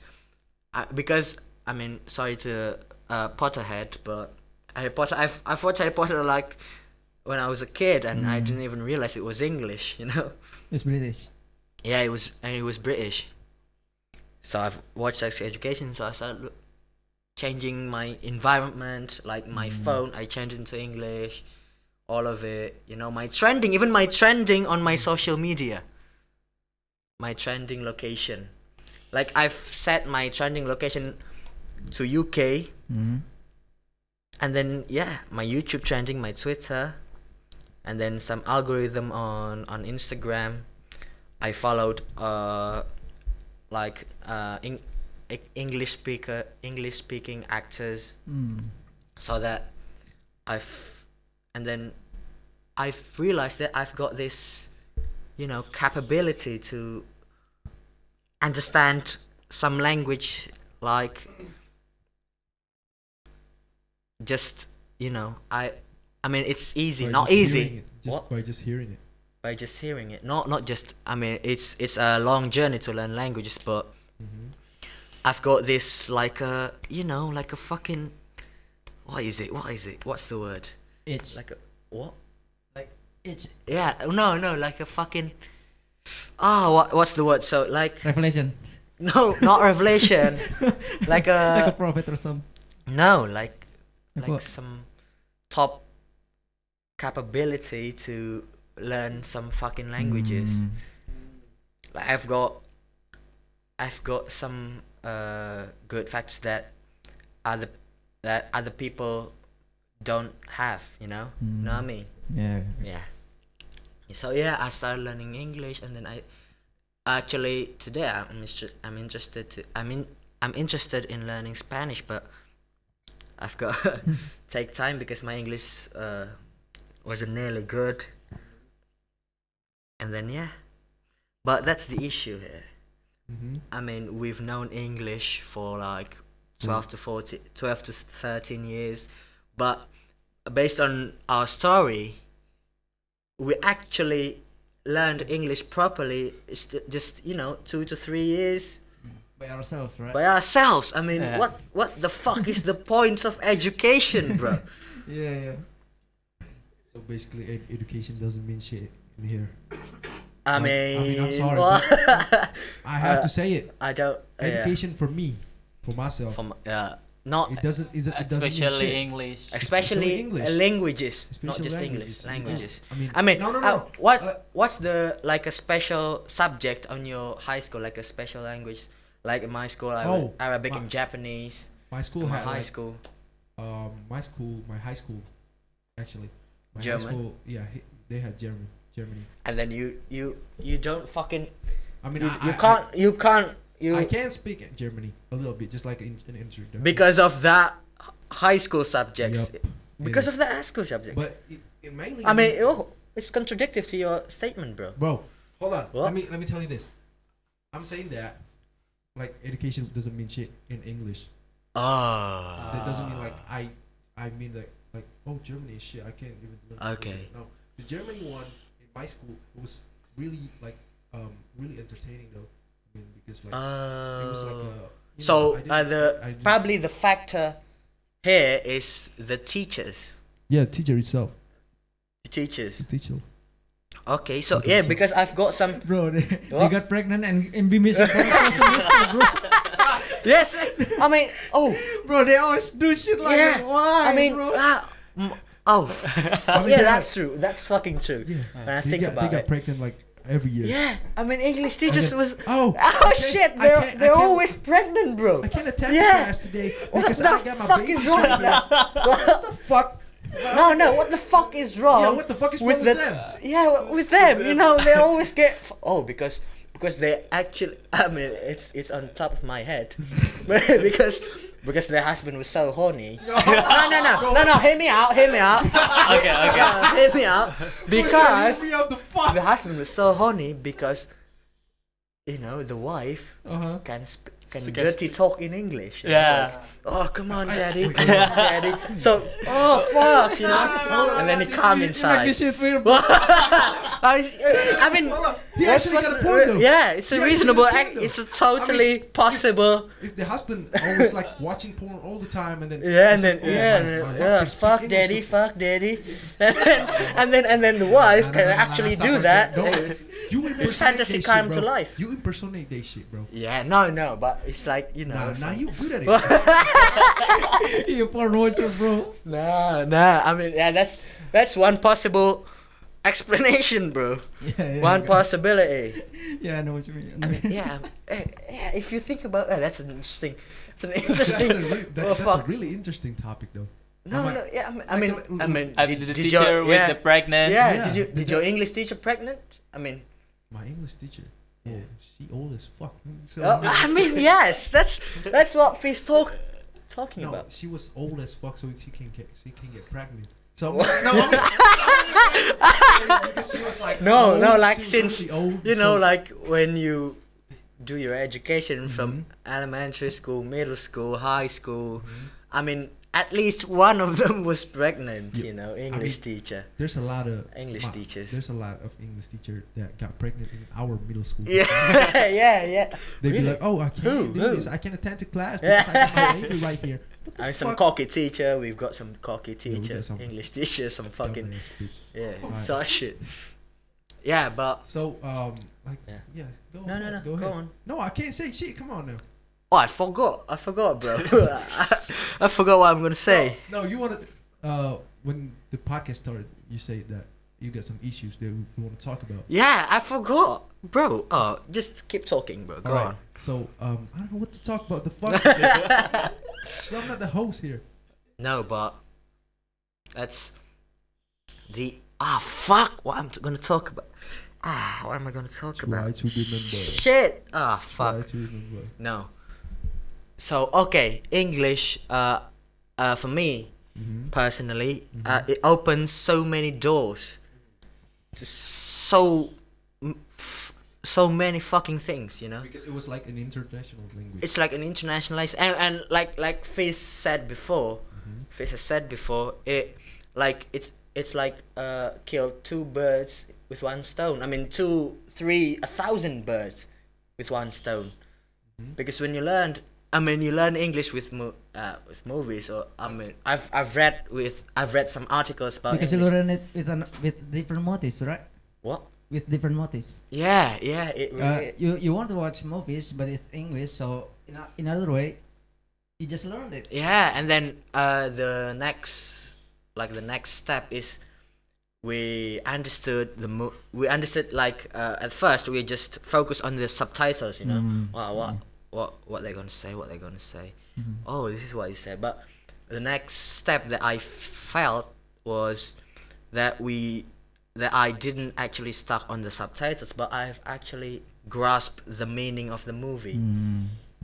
S1: I, because I mean, sorry to uh, Potterhead, but Harry Potter. I've I've watched Harry Potter like when I was a kid, and I didn't even realize it was English. *laughs* You know.
S5: It's British.
S1: Yeah, it was, and it was British. So I've watched Sex Education, so I started look, changing my environment, like my phone. I changed into English, all of it. You know, my trending, even my trending on my social media, my trending location. Like I've set my trending location to UK, and then yeah, my YouTube trending, my Twitter, and then some algorithm on on Instagram. I followed uh like uh in, English speaker English speaking actors
S3: Hmm.
S1: so that I've and then I've realized that I've got this you know capability to understand some language like just you know I I mean it's easy
S3: By
S1: not
S3: just hearing
S1: easy
S3: it, just by just hearing it.
S1: by just hearing it. Not not just. I mean, it's it's a long journey to learn languages, but I've got this like a you know like a fucking what is it? What is it? What's the word?
S5: Itch.
S1: Like
S5: Like,
S1: a what?
S5: like itch.
S1: Yeah. No, no. Like a fucking. Ah, what, what's the word? So like *laughs*
S5: Revelation.
S1: no, not
S5: *laughs*
S1: revelation. like
S5: like
S1: a
S5: a prophet or some.
S1: no, like
S5: Like
S1: like
S5: what?
S1: some top capability to learn some fucking languages.
S5: Mm,
S1: Like I've got I've got some uh good facts that other that other people don't have, you know? Know what I mean?
S5: mm. Yeah.
S1: Yeah. So yeah, I started learning English, and then I actually today I'm instru- I'm interested to I mean I'm interested in learning Spanish, but I've got *laughs* take time because my English uh, wasn't nearly good. And then yeah, but that's the issue here. I mean, we've known English for like
S3: Mm.
S1: 12 to 14, 12 to 13 years, but based on our story, we actually learned English properly it's ju- just you know two to three years
S5: By ourselves, right?
S1: by ourselves. I mean,
S4: Yeah.
S1: what what the fuck is the point of education,
S3: *laughs*
S1: bro?
S5: yeah, yeah.
S3: So basically, ed- education doesn't mean shit in here.
S1: I
S3: I- I
S1: mean,
S3: mean, I'm sorry,
S1: what- Uh,
S3: I have to say it.
S1: *laughs* I don't education
S3: Education for me, for myself,
S1: from uh, not
S3: it doesn't. It, it doesn't mean
S4: especially
S3: shit.
S4: English.
S1: especially
S3: English.
S1: uh, languages, not
S3: Especially
S1: just
S3: languages,
S1: English languages.
S3: yeah. I mean-
S1: I mean,
S3: No, no,
S1: uh,
S3: no.
S1: what
S3: Uh,
S1: what's the like a special subject on your high school, like a special language? Like in my school, I
S3: Oh,
S1: had Arabic and
S3: my-
S1: Japanese.
S3: My school
S1: my
S3: had
S1: high
S3: like,
S1: school.
S3: Um, my school, my high school, actually, my
S1: German.
S3: high school. Yeah, he- they had German. Germany.
S1: and then you you you don't fucking
S3: I mean,
S1: you,
S3: I,
S1: you
S3: I-
S1: can't you can't
S3: I,
S1: you
S3: I can speak in Germany a little bit, just like in an introduction.
S1: because of that h- high school subjects
S3: Yup.
S1: because
S3: Yeah.
S1: of that high school subject.
S3: but it, it mainly.
S1: I mean, oh, it's contradictive to your statement, bro.
S3: bro, hold on.
S1: What?
S3: Let me let me tell you this. I'm saying that, like, education doesn't mean shit in English.
S1: Ah.
S3: That doesn't mean like I, I mean like like oh Germany is shit. I can't even. learn German.
S1: Okay.
S3: No, the Germany one in my school it was really like um really entertaining though. I mean because like
S1: Ah.
S3: it was like a. you know,
S1: Oh. so
S3: I
S1: uh,
S3: didn't expect- I
S1: the
S3: didn't-
S1: probably the factor here is the teachers.
S3: yeah teacher itself
S1: The teachers.
S3: teacher.
S1: Okay, so yeah, because I've got
S3: *laughs*
S1: some.
S5: Bro, they, they
S1: What?
S5: got pregnant and, and be
S1: *laughs*
S5: missing for a semester, bro.
S1: Yes, I mean,
S3: *laughs*
S1: oh,
S5: Bro, they always do shit like
S1: yeah.
S5: that.
S1: I
S5: why,
S1: mean,
S5: bro?
S1: ah, mm, oh,
S3: I mean, *laughs*
S1: yeah,
S3: they
S1: that's
S3: got-
S1: true. That's fucking true. When I
S3: they
S1: think
S3: got,
S1: about
S3: they got
S1: it.
S3: pregnant like every year.
S1: Yeah, I mean English teachers
S3: Okay.
S1: was. *laughs*
S3: Oh,
S1: Oh
S3: okay.
S1: shit! They're,
S3: I can't- I
S1: they're
S3: can't-
S1: always pregnant, bro.
S3: I can't attend
S1: Yeah.
S3: class today
S1: What
S3: because
S1: the
S3: I got my
S1: fuck is
S3: babies
S1: wrong
S3: right
S1: with
S3: here.
S1: that?
S3: *laughs* What the fuck?
S1: no, no. What the fuck is wrong?
S3: Yeah, what the fuck is wrong
S1: with
S3: with
S1: the-
S3: them?
S1: Yeah, w- with them. You know, they always get. f- Oh, because because they actually. *laughs* I mean, it's it's on top of my head, *laughs* because because their husband was so horny. No, no, no, no, no. Hear me out. Hear me out.
S4: Okay, okay.
S1: Uh, hear me out. Because
S3: We out the fuck.
S1: the husband was so horny because you know the wife
S3: Uh-huh.
S1: can sp- can
S4: So can
S1: dirty talk in English. you know,
S4: Yeah.
S1: like, oh come on, daddy, come on, daddy. So oh fuck, you know. And then he come inside. I, I
S3: *laughs*
S1: mean,
S3: Hold on. He
S1: what's-
S3: actually
S1: what's-
S3: got a point though.
S1: yeah, it's
S3: He
S1: a
S3: actually
S1: reasonable.
S3: got a point,
S1: act,
S3: though.
S1: it's a totally possible.
S3: If the husband always like *laughs* watching porn all the time and then
S1: *laughs* Yeah, and
S3: he's
S1: then
S3: like, oh,
S1: yeah,
S3: my-
S1: and
S3: my
S1: then,
S3: wife
S1: yeah,
S3: can speak
S1: fuck
S3: English.
S1: daddy, fuck *laughs* daddy, and then and then and then the wife can actually do that. *laughs*
S3: No, you impersonate
S1: fantasy
S3: that shit,
S1: come to
S3: bro.
S1: life.
S3: You impersonate that shit, bro.
S1: Yeah, no, no, but it's like you know.
S3: Nah,
S1: it's
S3: nah,
S1: like-
S3: you good at it.
S5: *laughs* you porn watcher, bro.
S1: *laughs* Nah, nah. I mean, yeah, that's that's one possible explanation, bro.
S5: Yeah, yeah.
S1: One possibility.
S5: Yeah, I know what you mean.
S1: *laughs* I mean,
S5: *laughs*
S1: yeah, eh, yeah. If you think about, uh, that's an interesting. It's *laughs* an
S3: that's a,
S1: interesting.
S3: re- that,
S1: oh,
S3: that's a
S1: fuck.
S3: really interesting topic, though.
S1: No,
S3: Am I-
S1: no. Yeah, I mean, I mean,
S3: like,
S1: I mean,
S4: I mean, the
S1: your-
S4: teacher with
S1: yeah,
S4: the pregnant.
S1: Yeah,
S3: Yeah,
S1: Did you
S3: did
S1: did
S3: you-
S1: your English teacher pregnant? I
S3: *laughs*
S1: mean,
S3: My English teacher. Oh, she old as fuck. *laughs* So,
S1: oh, *laughs* I mean, yes. That's that's what he's talk talking
S3: no,
S1: about.
S3: she was old as fuck, so she can get she can get pregnant. So I'm *laughs* like, no,
S1: *laughs*
S3: I mean, because she was like
S1: No,
S3: old,
S1: no,
S3: she
S1: like
S3: was
S1: since
S3: really old,
S1: You know,
S3: so- Mm-hmm.
S1: like when you do your education from elementary school, middle school, high school.
S3: Mm-hmm.
S1: I mean, at least one of them was pregnant. You know, English teacher.
S3: There's a lot of
S1: English teachers.
S3: There's a lot of English teacher that got pregnant in our middle school.
S1: *laughs* Yeah, yeah, yeah.
S3: *laughs* They'd be
S1: Really?
S3: like, "Oh, I can't
S1: Who?
S3: do
S1: Who?
S3: this. I can't attend to
S1: *laughs*
S3: class because I got my baby right here." What the
S1: I mean, some
S3: fuck?
S1: cocky teacher. We've got some cocky
S3: we
S1: teacher,
S3: got some-
S1: English teacher, some *laughs* fucking
S3: Dumbass bitch.
S1: yeah,
S3: Alright.
S1: such shit. Yeah, but
S3: So, um, like, yeah,
S1: Yeah.
S3: go
S1: No, no,
S3: ahead,
S1: no,
S3: go,
S1: go
S3: ahead.
S1: on.
S3: No, I can't say shit. Come on now.
S1: oh, I forgot. I forgot, bro. *laughs* I, I forgot what I'm gonna say.
S3: No, you want to. Uh, when the podcast started, you said that you got some issues that we want to talk about.
S1: Yeah, I forgot, bro. Oh, just keep talking, bro. Go
S3: Alright,
S1: on.
S3: So, um, I don't know what to talk about. The
S1: *laughs*
S3: fuck. so I'm not the host here.
S1: No, but that's the ah fuck. What I'm t- gonna talk about? Ah, what am I gonna talk
S3: Try
S1: about?
S3: to remember.
S1: Shit. Ah
S3: Try
S1: fuck.
S3: to remember.
S1: No. So okay, English. Uh, uh, for me personally, uh, it opens so many doors. to So, m- f- so many fucking things, you know.
S3: Because it was like an international language.
S1: It's like an internationalized and, and like like Fizz said before, Fizz has said before it, like it's it's like uh kill two birds with one stone. I mean two, three, a thousand birds with one stone because when you learned i mean you learn english with mo- uh, with movies or i mean i've i've read with i've read some articles about
S5: because you
S1: english.
S5: learn it with an, with different motives, right?
S1: what
S5: With different motives.
S1: yeah yeah it
S5: Uh,
S1: really
S5: you you want to watch movies, but it's English, so in, a, in other way, you just learned it.
S1: yeah and then uh the next like the next step is we understood the mo- we understood like uh, at first we just focus on the subtitles you know wow what what what they're gonna say what they're gonna say oh this is what he said but the next step that i felt was that we that i didn't actually stuck on the subtitles but i've actually grasped the meaning of the movie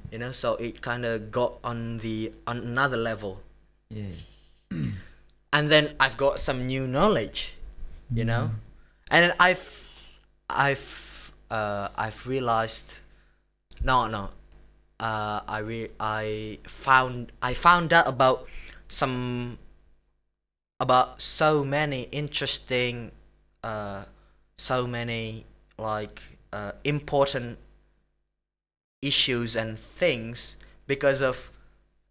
S1: you know so it kind of got on the on another level
S5: Yeah.
S1: and then I've got some new knowledge, you know, and then I've, I've, uh, I've realized, no, no, uh, I re- I found I found out about some, about so many interesting, uh, so many like uh, important issues and things because of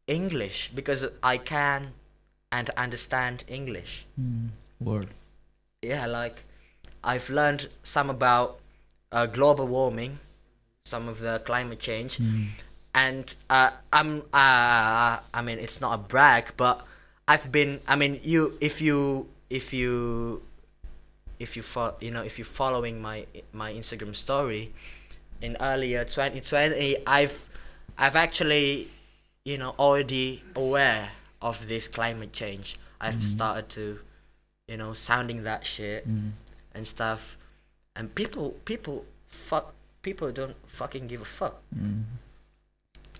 S1: English because I can and understand English.
S5: Word.
S1: Yeah, like I've learned some about uh, global warming, some of the climate change, and uh, I'm uh, I mean it's not a brag, but I've been I mean you if you if you if you fo- you know if you're following my my Instagram story, in earlier 2020, I've I've actually you know already aware of this climate change. I've started to you know sounding that shit and stuff, and people people fuck people don't fucking give a fuck.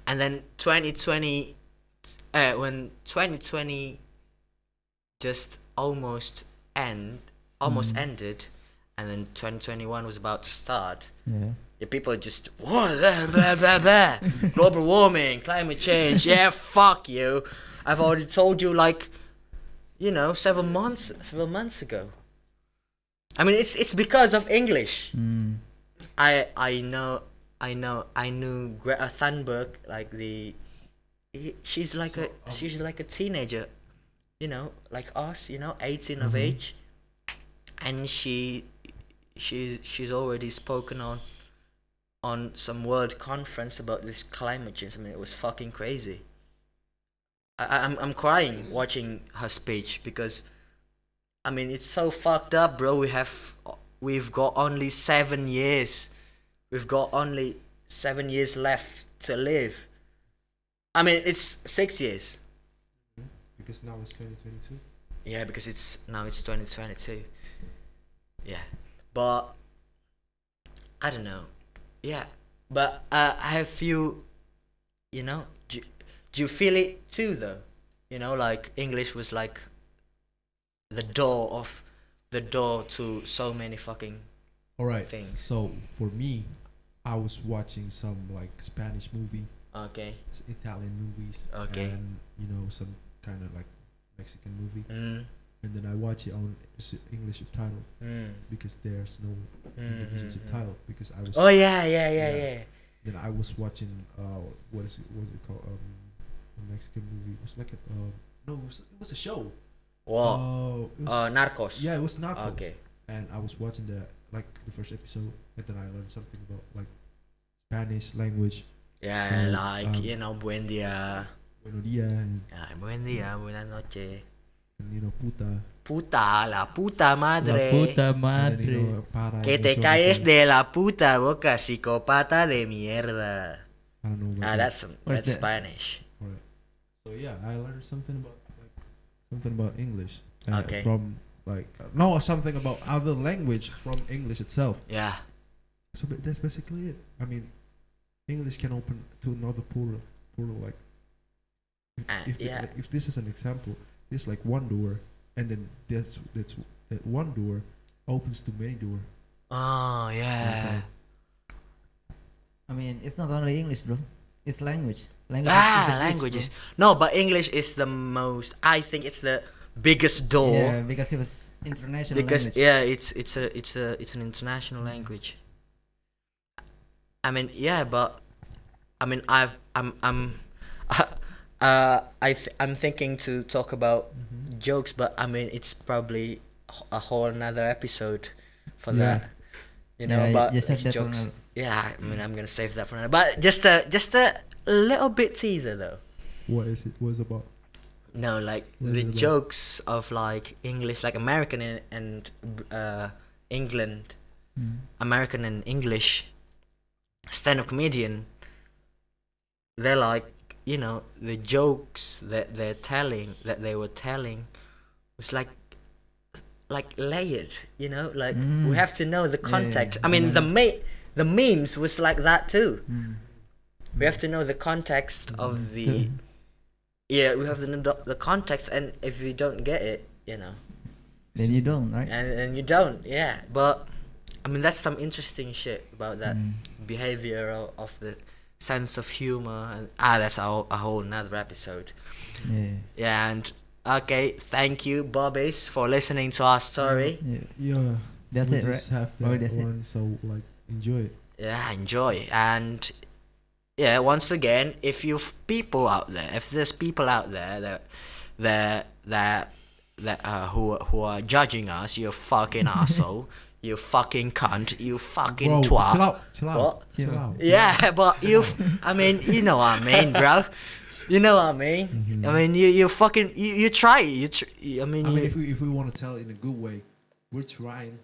S1: And then 2020, uh, when 2020 just almost end almost ended and then 2021 was about to start
S6: Yeah.
S1: the people just whoa blah, blah, blah, blah. global warming climate change yeah fuck you i've already told you like you know several months several months ago i mean it's it's because of english
S6: Mm.
S1: i i know i know i knew greta thunberg like the he- she's like a she's like a teenager you know like us you know 18 of age and she she she's already spoken on on some world conference about this climate change. I mean, it was fucking crazy. I, I- I'm I'm crying watching her speech because, I mean, it's so fucked up, bro. We have we've got only seven years. We've got only seven years left to live. I mean, it's six years.
S3: Because now it's 2022.
S1: Yeah, because it's now it's 2022. Yeah, but I don't know. Yeah, but uh, have you, you know, do, do you feel it too though? You know, like English was like the door of the door to so many fucking
S3: All right.
S1: Thing.
S3: So for me, I was watching some like Spanish movie,
S1: okay.
S3: s- Italian movies,
S1: Okay.
S3: and you know some kind of like Mexican movie,
S1: Mm,
S3: and then I watch it on s- English subtitle
S1: mm,
S3: because there's no
S1: mm,
S3: Indonesian
S1: mm, mm.
S3: subtitle because I was
S1: Oh yeah, yeah, yeah,
S3: Yeah.
S1: yeah.
S3: then I was watching uh what is it what is it called um a Mexican movie it was like a um no it was, it was a show
S1: Wow.
S3: oh it
S1: Uh,
S3: was,
S1: Narcos.
S3: yeah it was not
S1: Okay.
S3: and I was watching the like the first episode, and then I learned something about like Spanish language,
S1: Yeah,
S3: So,
S1: like
S3: um,
S1: you know, buen dia.
S3: buenos dia, and,
S1: Ay, buen día, buenas noches.
S3: and you know puta,
S1: Puta, la puta madre.
S6: La puta
S3: and then, you
S6: madre.
S3: know, para,
S1: Que
S3: and
S1: te
S3: so-
S1: caes de la puta boca, psicópata de mierda.
S3: I don't know. About
S1: Ah,
S3: that.
S1: that's
S6: Where's
S1: that's
S6: the-
S1: Spanish.
S3: Alright. So yeah, I learned something about like something about English uh,
S1: Okay.
S3: from like uh, no something about other language from English itself.
S1: Yeah.
S3: So ba- that's basically it. I mean, English can open to another portal, portal like
S1: Ah,
S3: if,
S1: yeah.
S3: if this is an example, there's like one door, and then that's that's that one door opens to many door.
S1: Oh yeah.
S3: Inside.
S5: I mean, it's not only English, bro. It's language. Language.
S1: Ah,
S5: the bridge,
S1: languages.
S5: bro.
S1: No, but English is the most. I think it's the biggest door
S5: Yeah, because it was international
S1: because
S5: language.
S1: yeah, it's it's a it's a it's an international language. I mean, yeah, but I mean, I've I'm I'm *laughs* uh I th- I'm thinking to talk about
S5: Mm-hmm.
S1: jokes, but I mean, it's probably h- a whole another episode for
S3: Yeah.
S1: that. You know,
S5: Yeah, you-
S1: but
S5: you save that for
S1: jokes.
S5: another- Mm.
S1: Yeah, I mean, I'm gonna save that for another. But just a just a little bit teaser though.
S3: What is it? Was about?
S1: No, like
S3: What
S1: the
S3: is it about?
S1: jokes of like English, like American and, and uh, England, Mm. American and English stand-up comedian. They're like, you know, the jokes that they're telling, that they were telling, was like, like layered. You know, like we have to know the context. I mean, the ma- the memes was like that too.
S5: Hmm.
S1: We have to know the context of the. Yeah, we have the the- the context, and if you don't get it, you know,
S5: Then you don't, right?
S1: and and you don't, yeah. But I mean, that's some interesting shit about that behavior of, of the sense of humor, and ah, that's a whole, a whole another episode.
S5: Yeah.
S1: Yeah, and okay, thank you, Bobbies, for listening to our story.
S5: yeah.
S3: Yeah,
S5: That's
S3: we
S5: it,
S3: just
S5: right?
S3: Have that
S5: Oh, that's it.
S3: one, so like enjoy it.
S1: yeah enjoy and yeah once again if you've people out there if there's people out there that that that that uh, who who are judging us you fucking asshole you fucking cunt you fucking
S3: Bro,
S1: twat
S3: chill out, chill out,
S1: What?
S3: chill out.
S1: yeah, *laughs* but you, I mean, you know what I mean, bro. You know what I mean. I mean, you, you fucking, you, you try. it, You, tr- I mean,
S3: I mean,
S1: you,
S3: if we if we want to tell it in a good way, we're trying.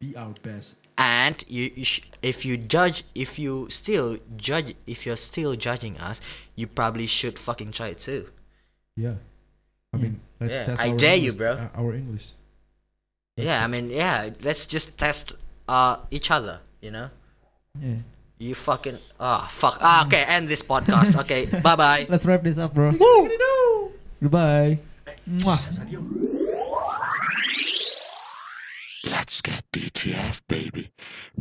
S3: be our best.
S1: and you, you sh- if you judge if you still judge if you're still judging us you probably should fucking try it too
S3: Yeah. I mean, that's,
S1: Yeah,
S3: that's
S1: I
S3: our
S1: dare you,
S3: English,
S1: bro.
S3: uh, Our English. That's
S1: yeah
S3: it.
S1: i mean yeah let's just test uh each other you know
S5: Yeah.
S1: you fucking ah fuck ah, okay end this podcast okay *laughs* bye bye
S5: Let's wrap this up, bro. Goodbye. Mwah.
S7: Let's get DTF, baby.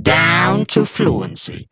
S7: Down to fluency.